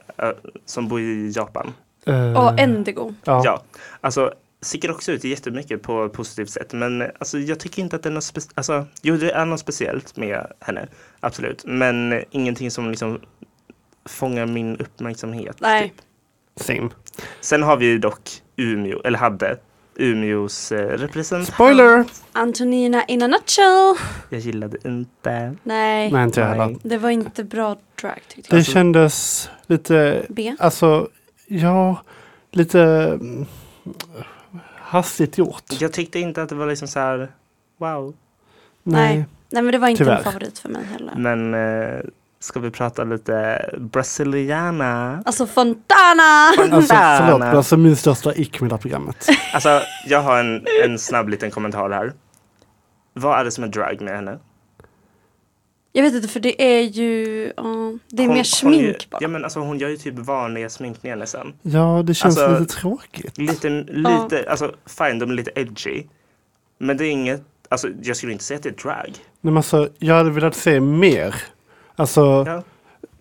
som bor i Japan. Eh, Ja, Mm. Endigo. ja. Ja, alltså sticker också ut jättemycket på ett positivt sätt. Men eh, alltså, jag tycker inte att det är något speciellt. Alltså, jo, det är något speciellt med henne. Absolut. Men eh, ingenting som liksom fångar min uppmärksamhet. Nej, Same. Sen har vi ju dock Umeå, eller hade Umeås eh, representant. Spoiler! Antonina in a nutshell. Jag gillade inte. Nej, Nej, inte jag heller. Nej. det var inte bra drag tyckte Det jag. Alltså, kändes lite, B. alltså, ja, lite mm, hastigt gjort. Jag tyckte inte att det var liksom så här, wow. Nej. Nej men det var inte Tyvärr. en favorit för mig heller. Men eh, ska vi prata lite brasiliana? Alltså Fontana! Alltså förlåt, Fontana. men alltså min största ick med det här programmet. Alltså, jag har en, en snabb liten kommentar här. Vad är det som är drag med henne? Jag vet inte för det är ju, ja, det är mer hon gör- smink bara. Ja men alltså hon gör ju typ vanliga sminkningar nästan. Ja, det känns Alltså- lite tråkigt. Lite, lite, alltså fine de är lite edgy. Men det är inget, alltså jag skulle inte säga att det är drag. Nej, men alltså, jag hade velat se mer. Alltså, Ja.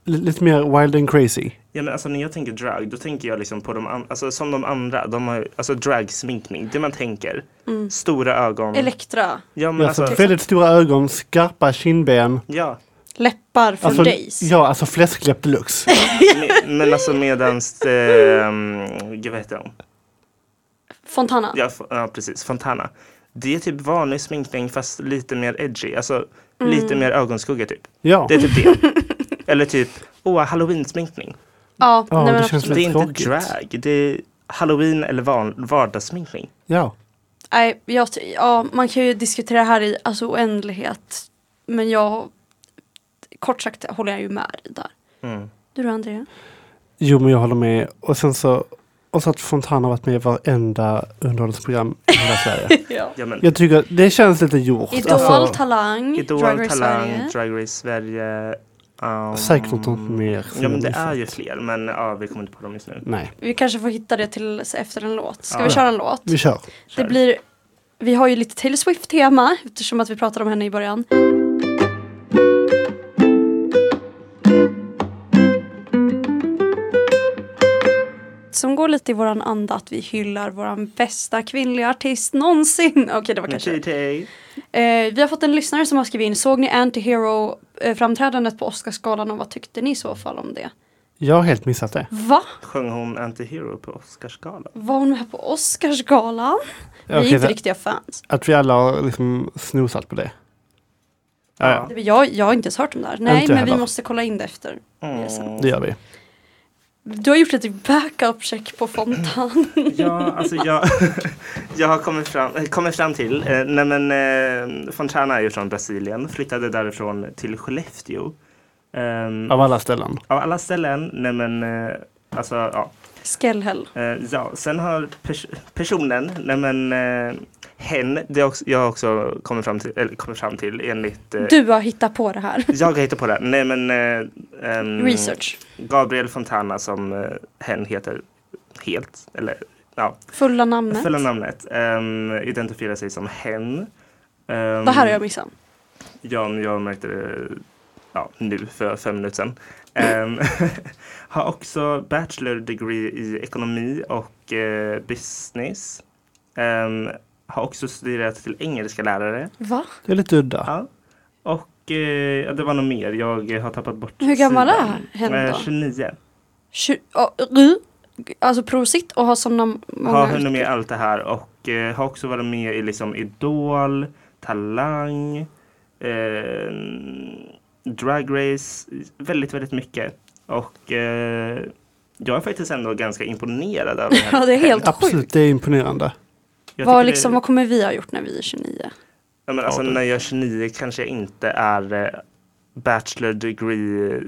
li- lite mer wild and crazy. Ja men alltså när jag tänker drag då tänker jag liksom på de andra, alltså som de andra, de har ju- alltså dragsminkning, det man tänker. Mm. Stora ögon. Elektra, ja men Ja, alltså, alltså, väldigt stora ögon, skarpa kindben. ja. läppar från Alltså, Days. ja, alltså fläskläpp deluxe. Me- Men alltså medans, eh, mm, gud vad heter hon? Fontana. Ja, f- ja precis, Fontana. Det är typ vanlig sminkning fast lite mer edgy, alltså Mm. lite mer ögonskugga typ. Ja, Det är typ det. Eller typ, åh, halloween-sminkning. Ja, Ja, nej, men det känns Det är absolut. lite- inte tråkigt. drag, det är halloween eller van- vardagssminkning. ja. Nej, jag, ty- ja, man kan ju diskutera det här i alltså, oändlighet. Men jag, kort sagt håller jag ju med dig där. Mm. Du då Andrea? Jo, men jag håller med. Och sen så, och så att Fontana har varit med i varenda underhållningsprogram i hela Sverige. Ja. Ja, men, Jag tycker att det känns lite gjort. alltså. Idol, Talang, Idol, Drag Race Talang, Sverige. Drag Race Sverige. Um, Säkert något mer. Ja men det är ju fler, men ja, vi kommer inte på dem just nu. Nej, Vi kanske får hitta det till efter en låt. Ska Ja. vi köra en låt? vi kör. Kör. Det blir, vi har ju lite Taylor Swift-tema eftersom att vi pratade om henne i början. Så som går lite i våran anda att vi hyllar våran bästa kvinnliga artist någonsin. Okej, det var kanske... TT. Eh, vi har fått en lyssnare som har skrivit in, såg ni Antihero eh, framträdandet på Oscarsgalan och vad tyckte ni i så fall om det? Jag har helt missat det. Va? Sjöng hon Antihero på Oscarsgalan? Var hon med på Oscarsgalan? Vi är Okej, inte så riktiga fans. att vi alla har liksom snosat på det. Ja, ja. Det- Jag, jag har inte ens hört om det här. Nej, Inte men vi heller. måste kolla in det efter. Det är sant. Det gör vi. Du har gjort ett backup-check på Fontan. Ja, alltså jag, jag har kommit fram, eh, kommit fram till, eh, nej men eh, Fontana är ju från Brasilien, flyttade därifrån till Skellefteå. Ehm, Av alla ställen. Av alla ställen, nej men eh, alltså ja. Skellhäll. Eh, ja. Sen har pers personen, nej men eh, hen, det har också, jag har också kommit fram till, eller kommit fram till enligt, eh, Du har hittat på det här. jag har hittat på det, nej men eh, ehm, Research. Gabriel Fontana som eh, hen heter helt, eller ja, Fulla namnet. Fulla namnet. Um, identifierar sig som hen. Ehm, Det här har jag missat. Ja, men jag märkte det ja, nu för fem minuter sedan. Ehm, har också bachelor degree i ekonomi och eh, business. Ehm, har också studerat till engelska lärare. Va? Det är lite udda. Ja. Och eh, ja, det var nog mer. Jag eh, har tappat bort Hur gammal sidan. är hen Eh, då? 29. Tju- ja, ru- alltså prosit och ha sådana många... Har hunnit med allt det här och eh, har också varit med i liksom Idol, Talang, eh, Drag Race, väldigt, väldigt mycket. Och eh, jag är faktiskt ändå ganska imponerad över henne. Ja, det är helt Absolut, sjukt. det är imponerande. Jag tycker Vad, det- liksom, vad kommer vi ha gjort när vi är 29? ja, men alltså, Ja, det- när jag är 29 kanske jag inte är eh, Bachelor degree, eh,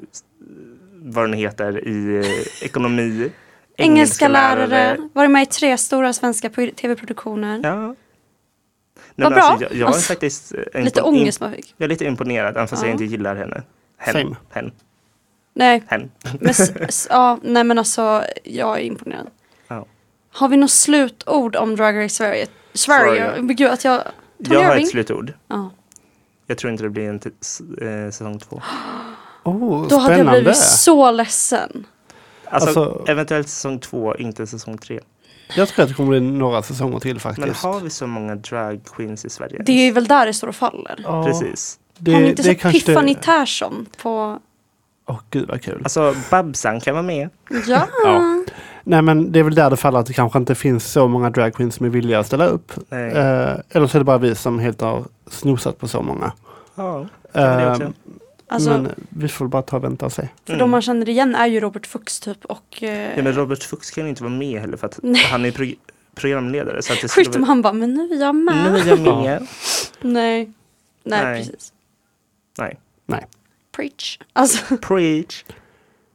vad den heter, i eh, ekonomi. Engelska lärare, varit med i tre stora svenska pro- tv-produktioner. Ja. Vad Nej, men alltså, bra. jag, jag Alltså, är faktiskt eh, Lite impon- ångest man fick. Jag är lite imponerad, även fast Ja. jag inte gillar henne. Hen, Same. hen, Nej, hen. men, s- s- ja, nej men alltså jag är imponerad. Ja. Har vi något slutord om Drag Race Sverige? Sverige? Sverige. Men Gud att jag... Tony Jag har Irving? ett slutord. Ja. Jag tror inte det blir en t- s- eh, säsong två. Oh, Då hade jag spännande. blivit så ledsen. Alltså, Alltså- eventuellt säsong två, inte säsong tre. Jag tror att det kommer bli några säsonger till faktiskt. Men har vi så många drag queens i Sverige? Det är väl där det står och faller. Ja, Precis. Det, Har ni inte det är sett kanske det- Tiffany Persson på... Åh gud vad kul. Alltså, Babsan kan vara med. Ja. Ja. Nej men det är väl där det faller att det kanske inte finns så många drag queens som är villiga att ställa upp. Nej. Eh, eller så är det bara vi som helt har snosat på så många. Ja, kan det Eh, också. Alltså, men vi får bara ta och vänta och se. för de man känner igen är ju Robert Fuchs typ och... Ja, Eh, men Robert Fuchs kan ju inte vara med heller för att Nej. han är prog- programledare. Så att det sjukt om skulle han bara, men nu är jag med. vara- Nu är jag med. Nej. Nej, Nej. precis. Nej. Nej. Preach. Alltså, Preach.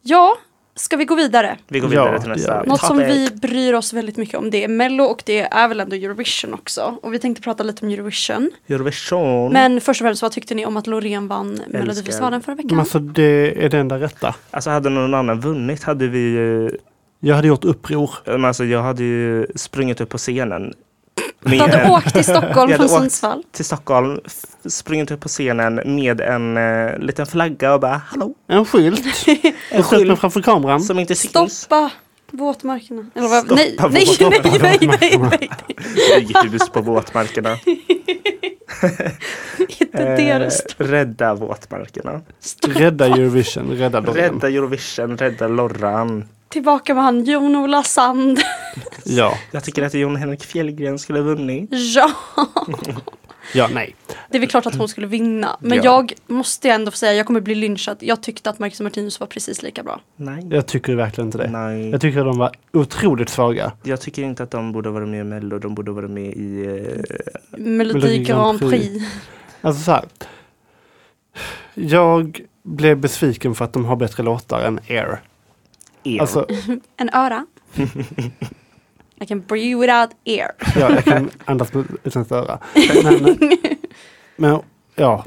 ja. Ska vi gå vidare? Vi går Ja, vidare till det nästa. gör vi. Något som topic. vi bryr oss väldigt mycket om det är Mello och det är väl ändå Eurovision också. Och vi tänkte prata lite om Mm. Eurovision. Eurovision. Men först och främst, vad tyckte ni om att Loreen vann Melodifestivalen förra Men veckan? alltså det är det enda rätta. Alltså hade någon annan vunnit hade vi eh, ju Jag hade gjort uppror. Men alltså jag hade ju sprungit upp på scenen. Du Med hade en, åkt till Stockholm Jag hade från åkt. Sundsvall. till Stockholm, f- sprungit upp på scenen med en eh, liten flagga och bara hallå. En skylt. En skylt med framför kameran. Som inte syns. Stoppa våtmarkerna. Eller vad? Stoppa nej, nej, nej, våtmarkerna. nej, nej, nej, Stoppa hus på våtmarkerna. Eh, Inte det det står. rädda våtmarkerna. Rädda Eurovision, rädda Loreen. Rädda Eurovision, rädda Lorran. Tillbaka med han Jon-Ola Sand. Ja, Jag tycker att Jon Henrik Fjällgren skulle ha vunnit. Ja, ja, nej. det är väl klart att hon skulle vinna. Men Ja. jag måste ändå få säga, jag kommer bli lynchad. Jag tyckte att Marcus och Martinus var precis lika bra. Nej. Jag tycker verkligen inte det. Nej. Eh, Jag tycker att de var otroligt svaga. Jag tycker inte att de borde vara med i Mello, de borde vara med i... eh, Melodi Melodi Grand Grand Prix. Alltså så här. Jag blev besviken för att de har bättre låtar än Air. er. Alltså, En öra. I can breathe without air. ja, jag kan andas med- utan att öra. Men, men ja,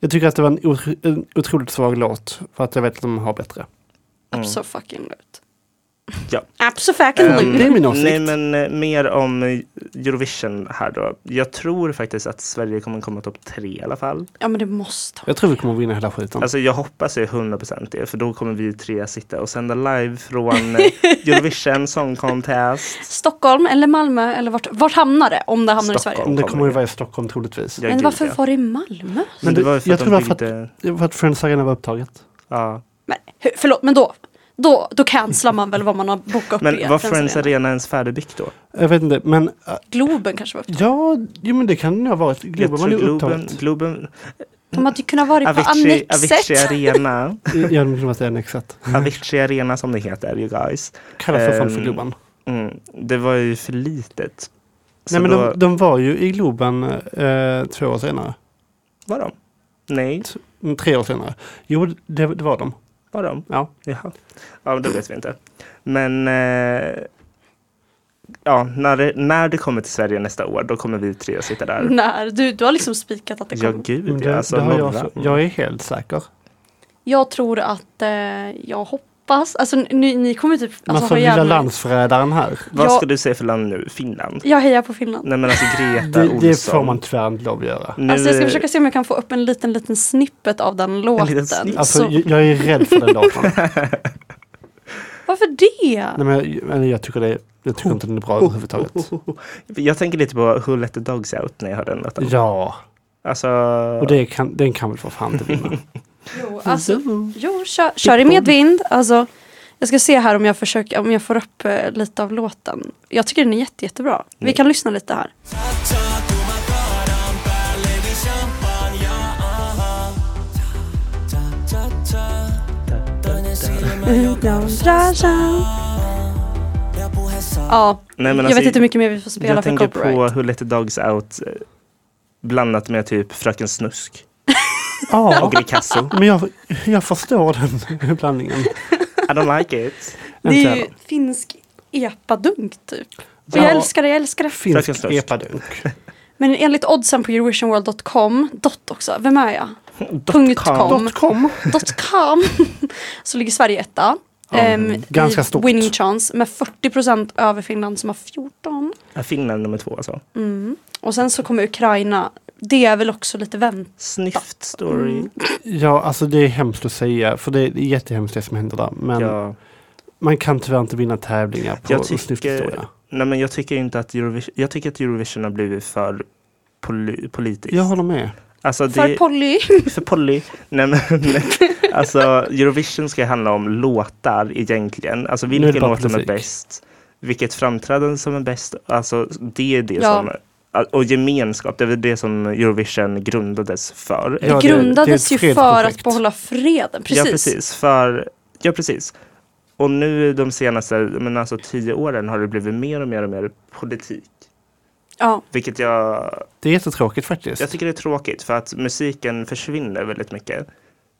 jag tycker att det var en, otro, en otroligt svag låt för att jag vet att de har bättre. Mm. So fucking right. Absolutely. Ehm, Det är min åsikt. Nej men eh, mer om eh, Eurovision här då. Jag tror faktiskt att Sverige kommer komma topp tre i alla fall. Ja men det måste ha. Jag tror vi kommer vinna hela skiten. Alltså jag hoppas ju 100% det för då kommer vi tre sitta och sända live från eh, Eurovision Song Contest. Stockholm eller Malmö eller vart, vart hamnar det? Om det hamnar i Stockholm. Sverige. det kommer ju vara i Stockholm troligtvis. Ja, Men gud, varför ja. var det i Malmö? Men Men det du, var ju för jag att de tror det var för byggde, Det var För att Friends Arena var upptaget. ja. Men, hur- förlåt men då, då, då cancelar man väl vad man har bokat upp Men i var Friends Friends Arena. Arena ens färdigbyggt då? Jag vet inte, men äh, Globen kanske var ja, jo, men det kan det ha varit. Jag Globen var tror ju Globen, upptaget. Globen De hade ju kunnat vara på Avicii, Avicii Annexet. Arena, Jag hade kunnat säga Annexet. Avicii Arena som det heter you guys. Kallas för fan för Ehm, Globen. Mm, det var ju för litet. Så Nej men då, de, de var ju i Globen eh, två år senare. var de? Nej, Mm, Tre år senare. Jo, det, det var de. var de? Ja. Jaha. Ja, men det vet vi inte. Men eh, ja, när, det, när det kommer till Sverige nästa år, då kommer vi tre att sitta där. När? Du, du har liksom spikat att det Ja, kommer. Men gud Mm. Det, ja. Alltså, det har jag, norra. så- jag är helt säker. Jag tror att eh, jag hoppas, alltså ni, ni kommer typ Man alltså, får ha lilla gärna- landsförrädaren här. Vad jag- ska du säga för land nu? Finland? Jag hejar på Finland. Nej men alltså Greta Det, Olsson. det får man tyvärr inte lov att göra. Nu, Alltså jag ska försöka se om jag kan få upp en liten liten snippet av den låten. liten snippet? Alltså, Så, jag, jag är rädd för den låten. Nej, varför det? men jag, men jag tycker, det, jag tycker inte den är bra överhuvudtaget. Jag tänker lite på Who Let The Dogs Out när jag hör den låten. Ja, Alltså, och det kan, den kan väl för fan inte vinna. Jo, alltså, jo kör, kör i medvind. Alltså, jag ska se här om jag, försöker, om jag får upp eh, lite av låten. Jag tycker den är jätte, jättebra. Vi Nej. kan lyssna lite här. Ja, Nej, men jag alltså, vet inte hur mycket mer vi får spela jag för tänker copyright. på Who Let The Dogs Out eh, blandat med typ Fröken Snusk Ja, och Ricasso. men jag, jag förstår den blandningen. I don't like it. Det Inte är ju heller. finsk epadunk typ. Och Ja. jag älskar det, jag älskar det. Fröken Finsk Snusk. epadunk. Men enligt oddsen på Eurovisionworld.com, dot också, vem är jag? Punkt com. Dot com. Dot com. så ligger Sverige etta. ehm, i ganska stort. Winning chance med 40% över Finland som har 14. Ja, Finland nummer två alltså. Mm. Och sen så kommer Ukraina. Det är väl också lite vänt. Sniffed story. Mm. Ja, alltså det är hemskt att säga, för det är jättehemskt det som händer där. Men Ja. man kan tyvärr inte vinna tävlingar på Jag jag tycker- Nej men jag tycker inte att Eurovision, jag tycker att Eurovision har blivit för poli, politiskt. Jag håller med. alltså För det, Polly. för poly. Nej men alltså Eurovision ska handla om låtar egentligen. Alltså Nu är det vilken bara låt som är politik. bäst. Vilket framträdande som är bäst. Alltså det är det Ja. som och gemenskap, det är väl det som Eurovision grundades för. Ja, det det- grundades det är ett ju för att fredsprojekt. behålla freden. Precis. Ja, precis. För, ja, precis. Och nu de senaste men alltså, tio åren har det blivit mer och mer och mer politik. Ja. Vilket jag, Det är jättetråkigt faktiskt. jag tycker det är tråkigt för att musiken försvinner väldigt mycket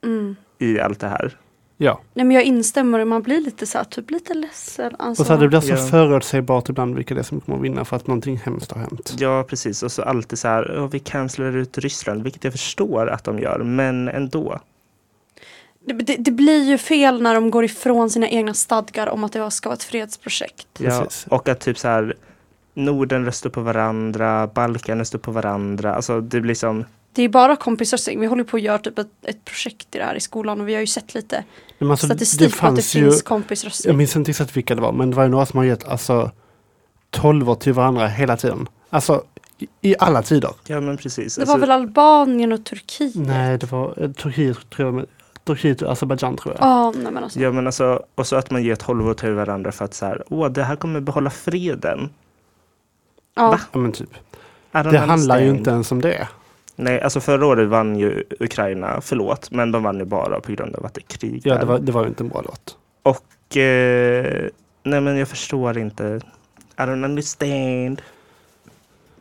Mm. i allt det här. ja. Nej, men jag instämmer och man blir lite så här, typ lite ledsen. Alltså, Och så det blir så Ja. förutsägbart ibland vilka det är som kommer att vinna för att någonting hemskt har hänt. Ja, precis. Och så alltid så här, "Åh, vi cancelar ut Ryssland, vilket jag förstår att de gör, men ändå. Det, det, det blir ju fel när de går ifrån sina egna stadgar om att det ska vara ett fredsprojekt. Ja, Precis. och att typ så här, Norden röstar på varandra, Balkan röstar på varandra. Alltså det blir som, Det är bara kompisröstning. Vi håller på att göra typ ett, ett projekt i det här i skolan och vi har ju sett lite Men alltså, det statistik på att det fanns ju, finns jag kompisröstning. minns inte exakt vilka det var, men det var ju några som har gett alltså tolvor till varandra hela tiden. Alltså i, i alla tider. ja men precis. Alltså, Det var väl Albanien och Turkiet? alltså- Nej, det var eh, Turkiet, tror jag, men- Turkiet och Azerbajdzjan tror jag. Ja, nej men alltså. Ja men alltså, och så att man ger tolvor till varandra för att så här, åh det här kommer behålla freden. Ja. Ja, men typ. I don't Det handlar ju understand. inte ens om det. Nej, alltså förra året vann ju Ukraina, förlåt, men de vann ju bara på grund av att det är krig Ja, där. det var, det var ju inte en bra låt. Och, eh, nej men jag förstår inte. I don't understand.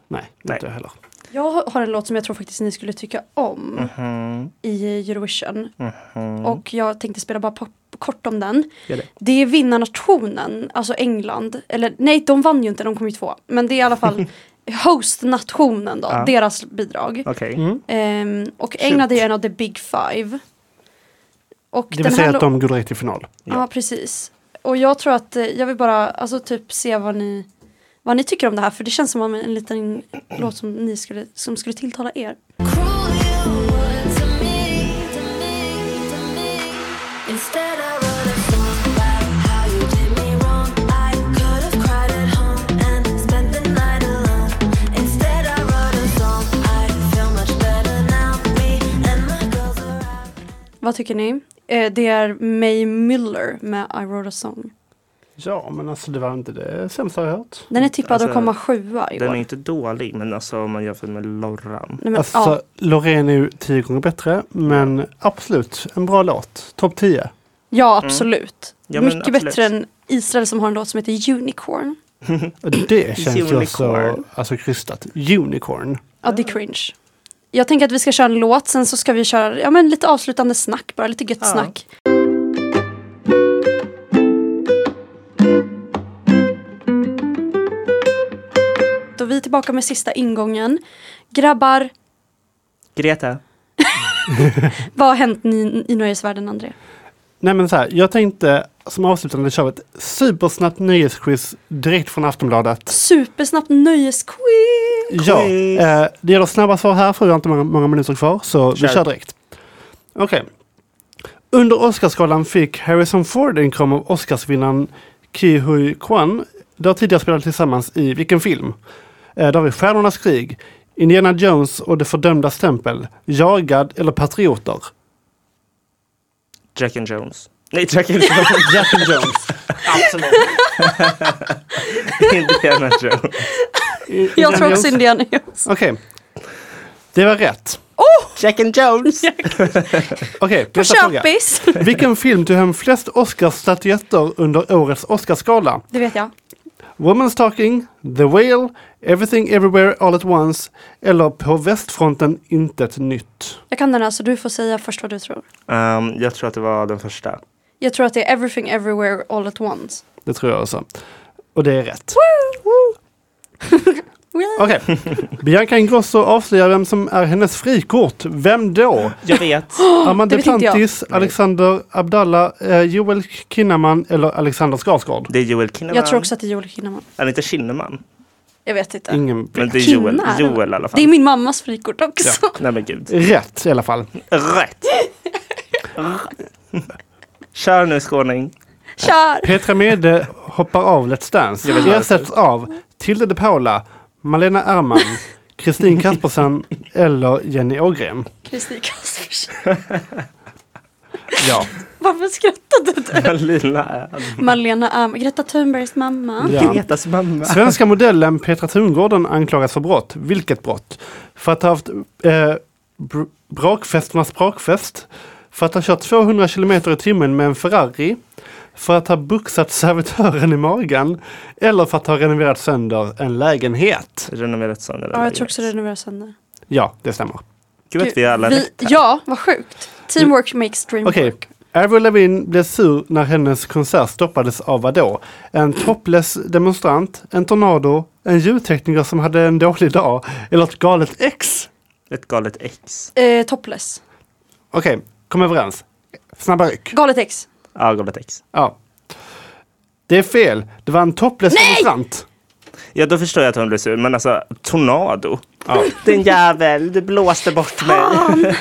Nej, Nej. inte jag heller. Jag har en låt som jag tror faktiskt ni skulle tycka om Mhm, i Eurovision. mhm. Och jag tänkte spela bara po- kort om den. Gör det. Det är vinnarnationen, alltså England. Eller nej, de vann ju inte, de kom ju två. Men det är i alla fall hostnationen då, Ja. deras bidrag. Okej. Mm. Ehm, och England är ju en av the big five. Och Det vill här säga att lå- de går direkt till final. Ja, precis. och jag tror att eh, jag vill bara alltså, typ se vad ni, vad ni tycker om det här för det känns som en liten låt som, ni skulle, som skulle tilltala er. Cruel you were to me, to me, to me. Instead, I wrote a song about how you did me wrong. I could have cried at home and spent the night alone. Instead, I wrote a song. I feel much better now. Me and my girls are out. Vad tycker ni? Eh, det är May Miller med I wrote a song. Ja, men alltså det var inte det sämsta jag hört. Den är tippad Alltså, att komma sjua i Den är år. inte dålig, men alltså om man jämför med Lorran. Nej, men, Alltså, ja, Loreen är ju tio gånger bättre, men absolut en bra låt. Topp 10. ja, Mm. absolut. Ja, men Mycket absolut. bättre än Israel som har en låt som heter Unicorn. Och Det känns ju så Unicorn. alltså, krystat. Unicorn. Ja, det är Ah. cringe. Jag tänker att vi ska köra en låt, sen så ska vi köra ja, men lite avslutande snack bara, lite gött Ja. snack. Då är vi tillbaka med sista ingången. Grabbar, Greta, vad har hänt ni, i nöjesvärlden, André? Nej men så här, jag tänkte som avslutande köra ett supersnabbt nyhetsquiz direkt från Aftonbladet. Supersnabbt nöjesquiz! Ja, eh, det gäller snabba svar här för vi har inte många, många minuter kvar så Kör. vi kör direkt. Okej. Under Oscarsgalan fick Harrison Ford en kram av Oscarsvinnaren Ki-Hui Kwan. De har tidigare spelat tillsammans i vilken film? Eh, där har vi Stjärnornas krig, Indiana Jones och Det fördömdas tempel, Jagad eller Patrioter? Jack and Jones. Nej, Jack and Jones. Jack and Jones. Absolut. Indiana Jones. Jag tror också Jones. Indiana Jones. Okej. Det var rätt. Jack and Jones! Oh! Okej, På nästa fråga. köpis! Vilken film tog hem flest Oscarsstatyetter under årets Oscarsgala? Det vet jag. Woman's Talking, The Whale, Everything Everywhere All At Once eller På västfronten intet nytt? Jag kan den här så du får säga först vad du tror. Ehm, jag tror att det var den första. Jag tror att det är Everything Everywhere All At Once. Det tror jag också. Och det är rätt. Whee! Okej. Bianca Ingrosso avslöjar vem som är hennes frikort. Vem då? Jag vet. Amanda det tänkte jag. Plantis, Alexander Abdallah, eh, Joel Kinnaman eller Alexander Skarsgård? Det är Joel Kinnaman. Jag tror också att det är Joel Kinnaman. Är det inte Kinnaman? Jag vet inte. Ingen Men det är Joel. Kinnar? Joel i alla fall. Det är min mammas frikort också. Nej men gud. Rätt i alla fall. Rätt! Kör nu skåning. Kör! Petra Mede hoppar av Let's Dance. vill höra Ersätts av Tilde de Paula, Malena Ernman, Kristin Kaspersen eller Jenny Ågren. Kristin Kaspersen. Ja. Varför skrattade du? Lilla Malena Am, Greta Thunbergs mamma. ja. Gretas mamma. Svenska modellen Petra Tungården anklagas för brott. Vilket brott? För att ha haft eh, br- brakfesternas brakfest. För att ha kört 200 kilometer i timmen med en Ferrari. För att ha buxat servitören i magen. Eller för att ha renoverat sönder en lägenhet. Renoverat sönder Ja, jag tror också renoverar sönder. Ja, det stämmer. Gud att vi alla Vi- rätt här. Ja, vad sjukt. Teamwork makes dream Okej. work. Avril Lavigne blev sur när hennes konsert stoppades av vadå? En topless demonstrant, en tornado, en ljudtekniker som hade en dålig dag eller ett galet ex? Ett galet ex. Eh, topless. Okej, kom överens. Snabba ryck. Galet ex. Ja, galet ex. Ja. Det är fel. Det var en topless demonstrant. Ja, då förstår jag att hon blir sur. Men alltså, tornado. Ja. Den jävel, du blåste bort mig.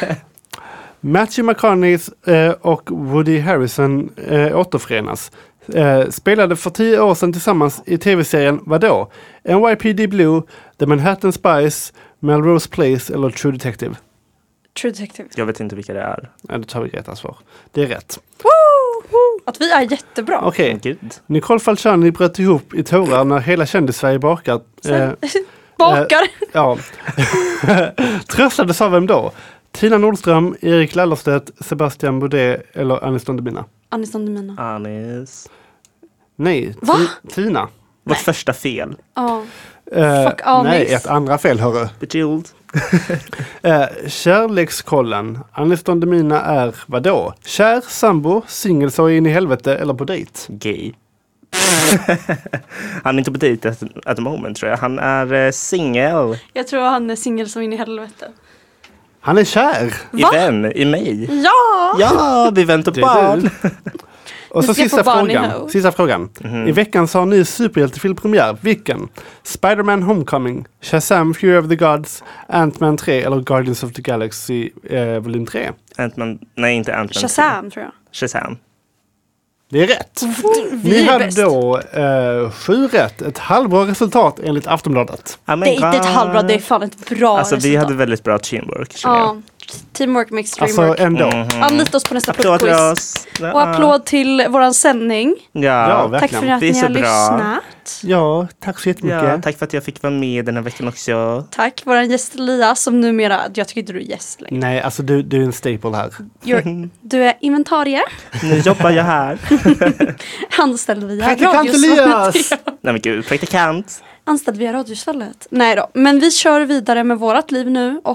Matthew McConaughey eh, och Woody Harrison eh, återförenas. Eh, spelade för tio år sedan tillsammans i tv-serien vadå? NYPD Blue, The Manhattan Spice, Melrose Place eller True Detective? True detective. Jag vet inte vilka det är. Ja, då tar vi Gretas svar. Det är rätt. Woo! Att vi är jättebra. Okej. Men Gud. Nicole Falciani bröt ihop i tårar när hela kändis-Sverige bakar. Eh, Bakar. ja. Tröstades av vem då? Tina Nordström, Erik Lallerstedt, Sebastian Boudet eller Anis Don Demina? Anis Don Demina. Anis. Nej, Va? Ti- Tina. Vårt första fel. Ja. Eh, Fuck Anis. Nej, ett andra fel hörru. Bejeweled. Eh, kärlekskollen. Anis Don Demina är vadå? Kär, sambo, singel så in i helvete eller på dejt? Gay. han är inte på dejt at, at the moment tror jag. Han är eh, singel. Jag tror han är singel som in i helvete. Han är kär! I Va? vem? I mig? Ja! Ja, vi väntar Det på är du. barn. Och så Vi ska sista få Barney frågan. Ho. sista frågan. I veckan så har en ny superhjältefilm premiär. Vilken? Spider-Man Homecoming, Shazam Fury of the Gods, Ant-Man 3 eller Guardians of the Galaxy eh, volym 3? Ant-Man, nej inte Ant-Man. Shazam tror jag. Shazam. Det är rätt! Vi Ni är hade bäst. då eh, sju rätt. Ett halvbra resultat enligt Aftonbladet. Oh my Det är inte ett God. halvbra, det är fan ett bra Alltså vi resultat. hade väldigt bra teamwork känner jag. Ja. Teamwork makes dream Alltså work. Mm. ändå. Anlita oss på nästa Applåd till pluppquiz. oss. Och applåd till våran sändning. Ja, Ja. verkligen. Ja, Tack för att Det är ni så har bra. lyssnat. Ja, tack så jättemycket. tack för att jag fick vara med den här veckan också. Tack våran gäst Elias som numera, jag tycker inte du är gäst längre. Nej, alltså du, du är en staple här. You're, du är inventarie, Nu jobbar jag här. anställd via Praktikant Elias! radiosvallet. Nej men gud, praktikant. Anställd via radiosvallet. Nej då, men vi kör vidare med vårat liv nu och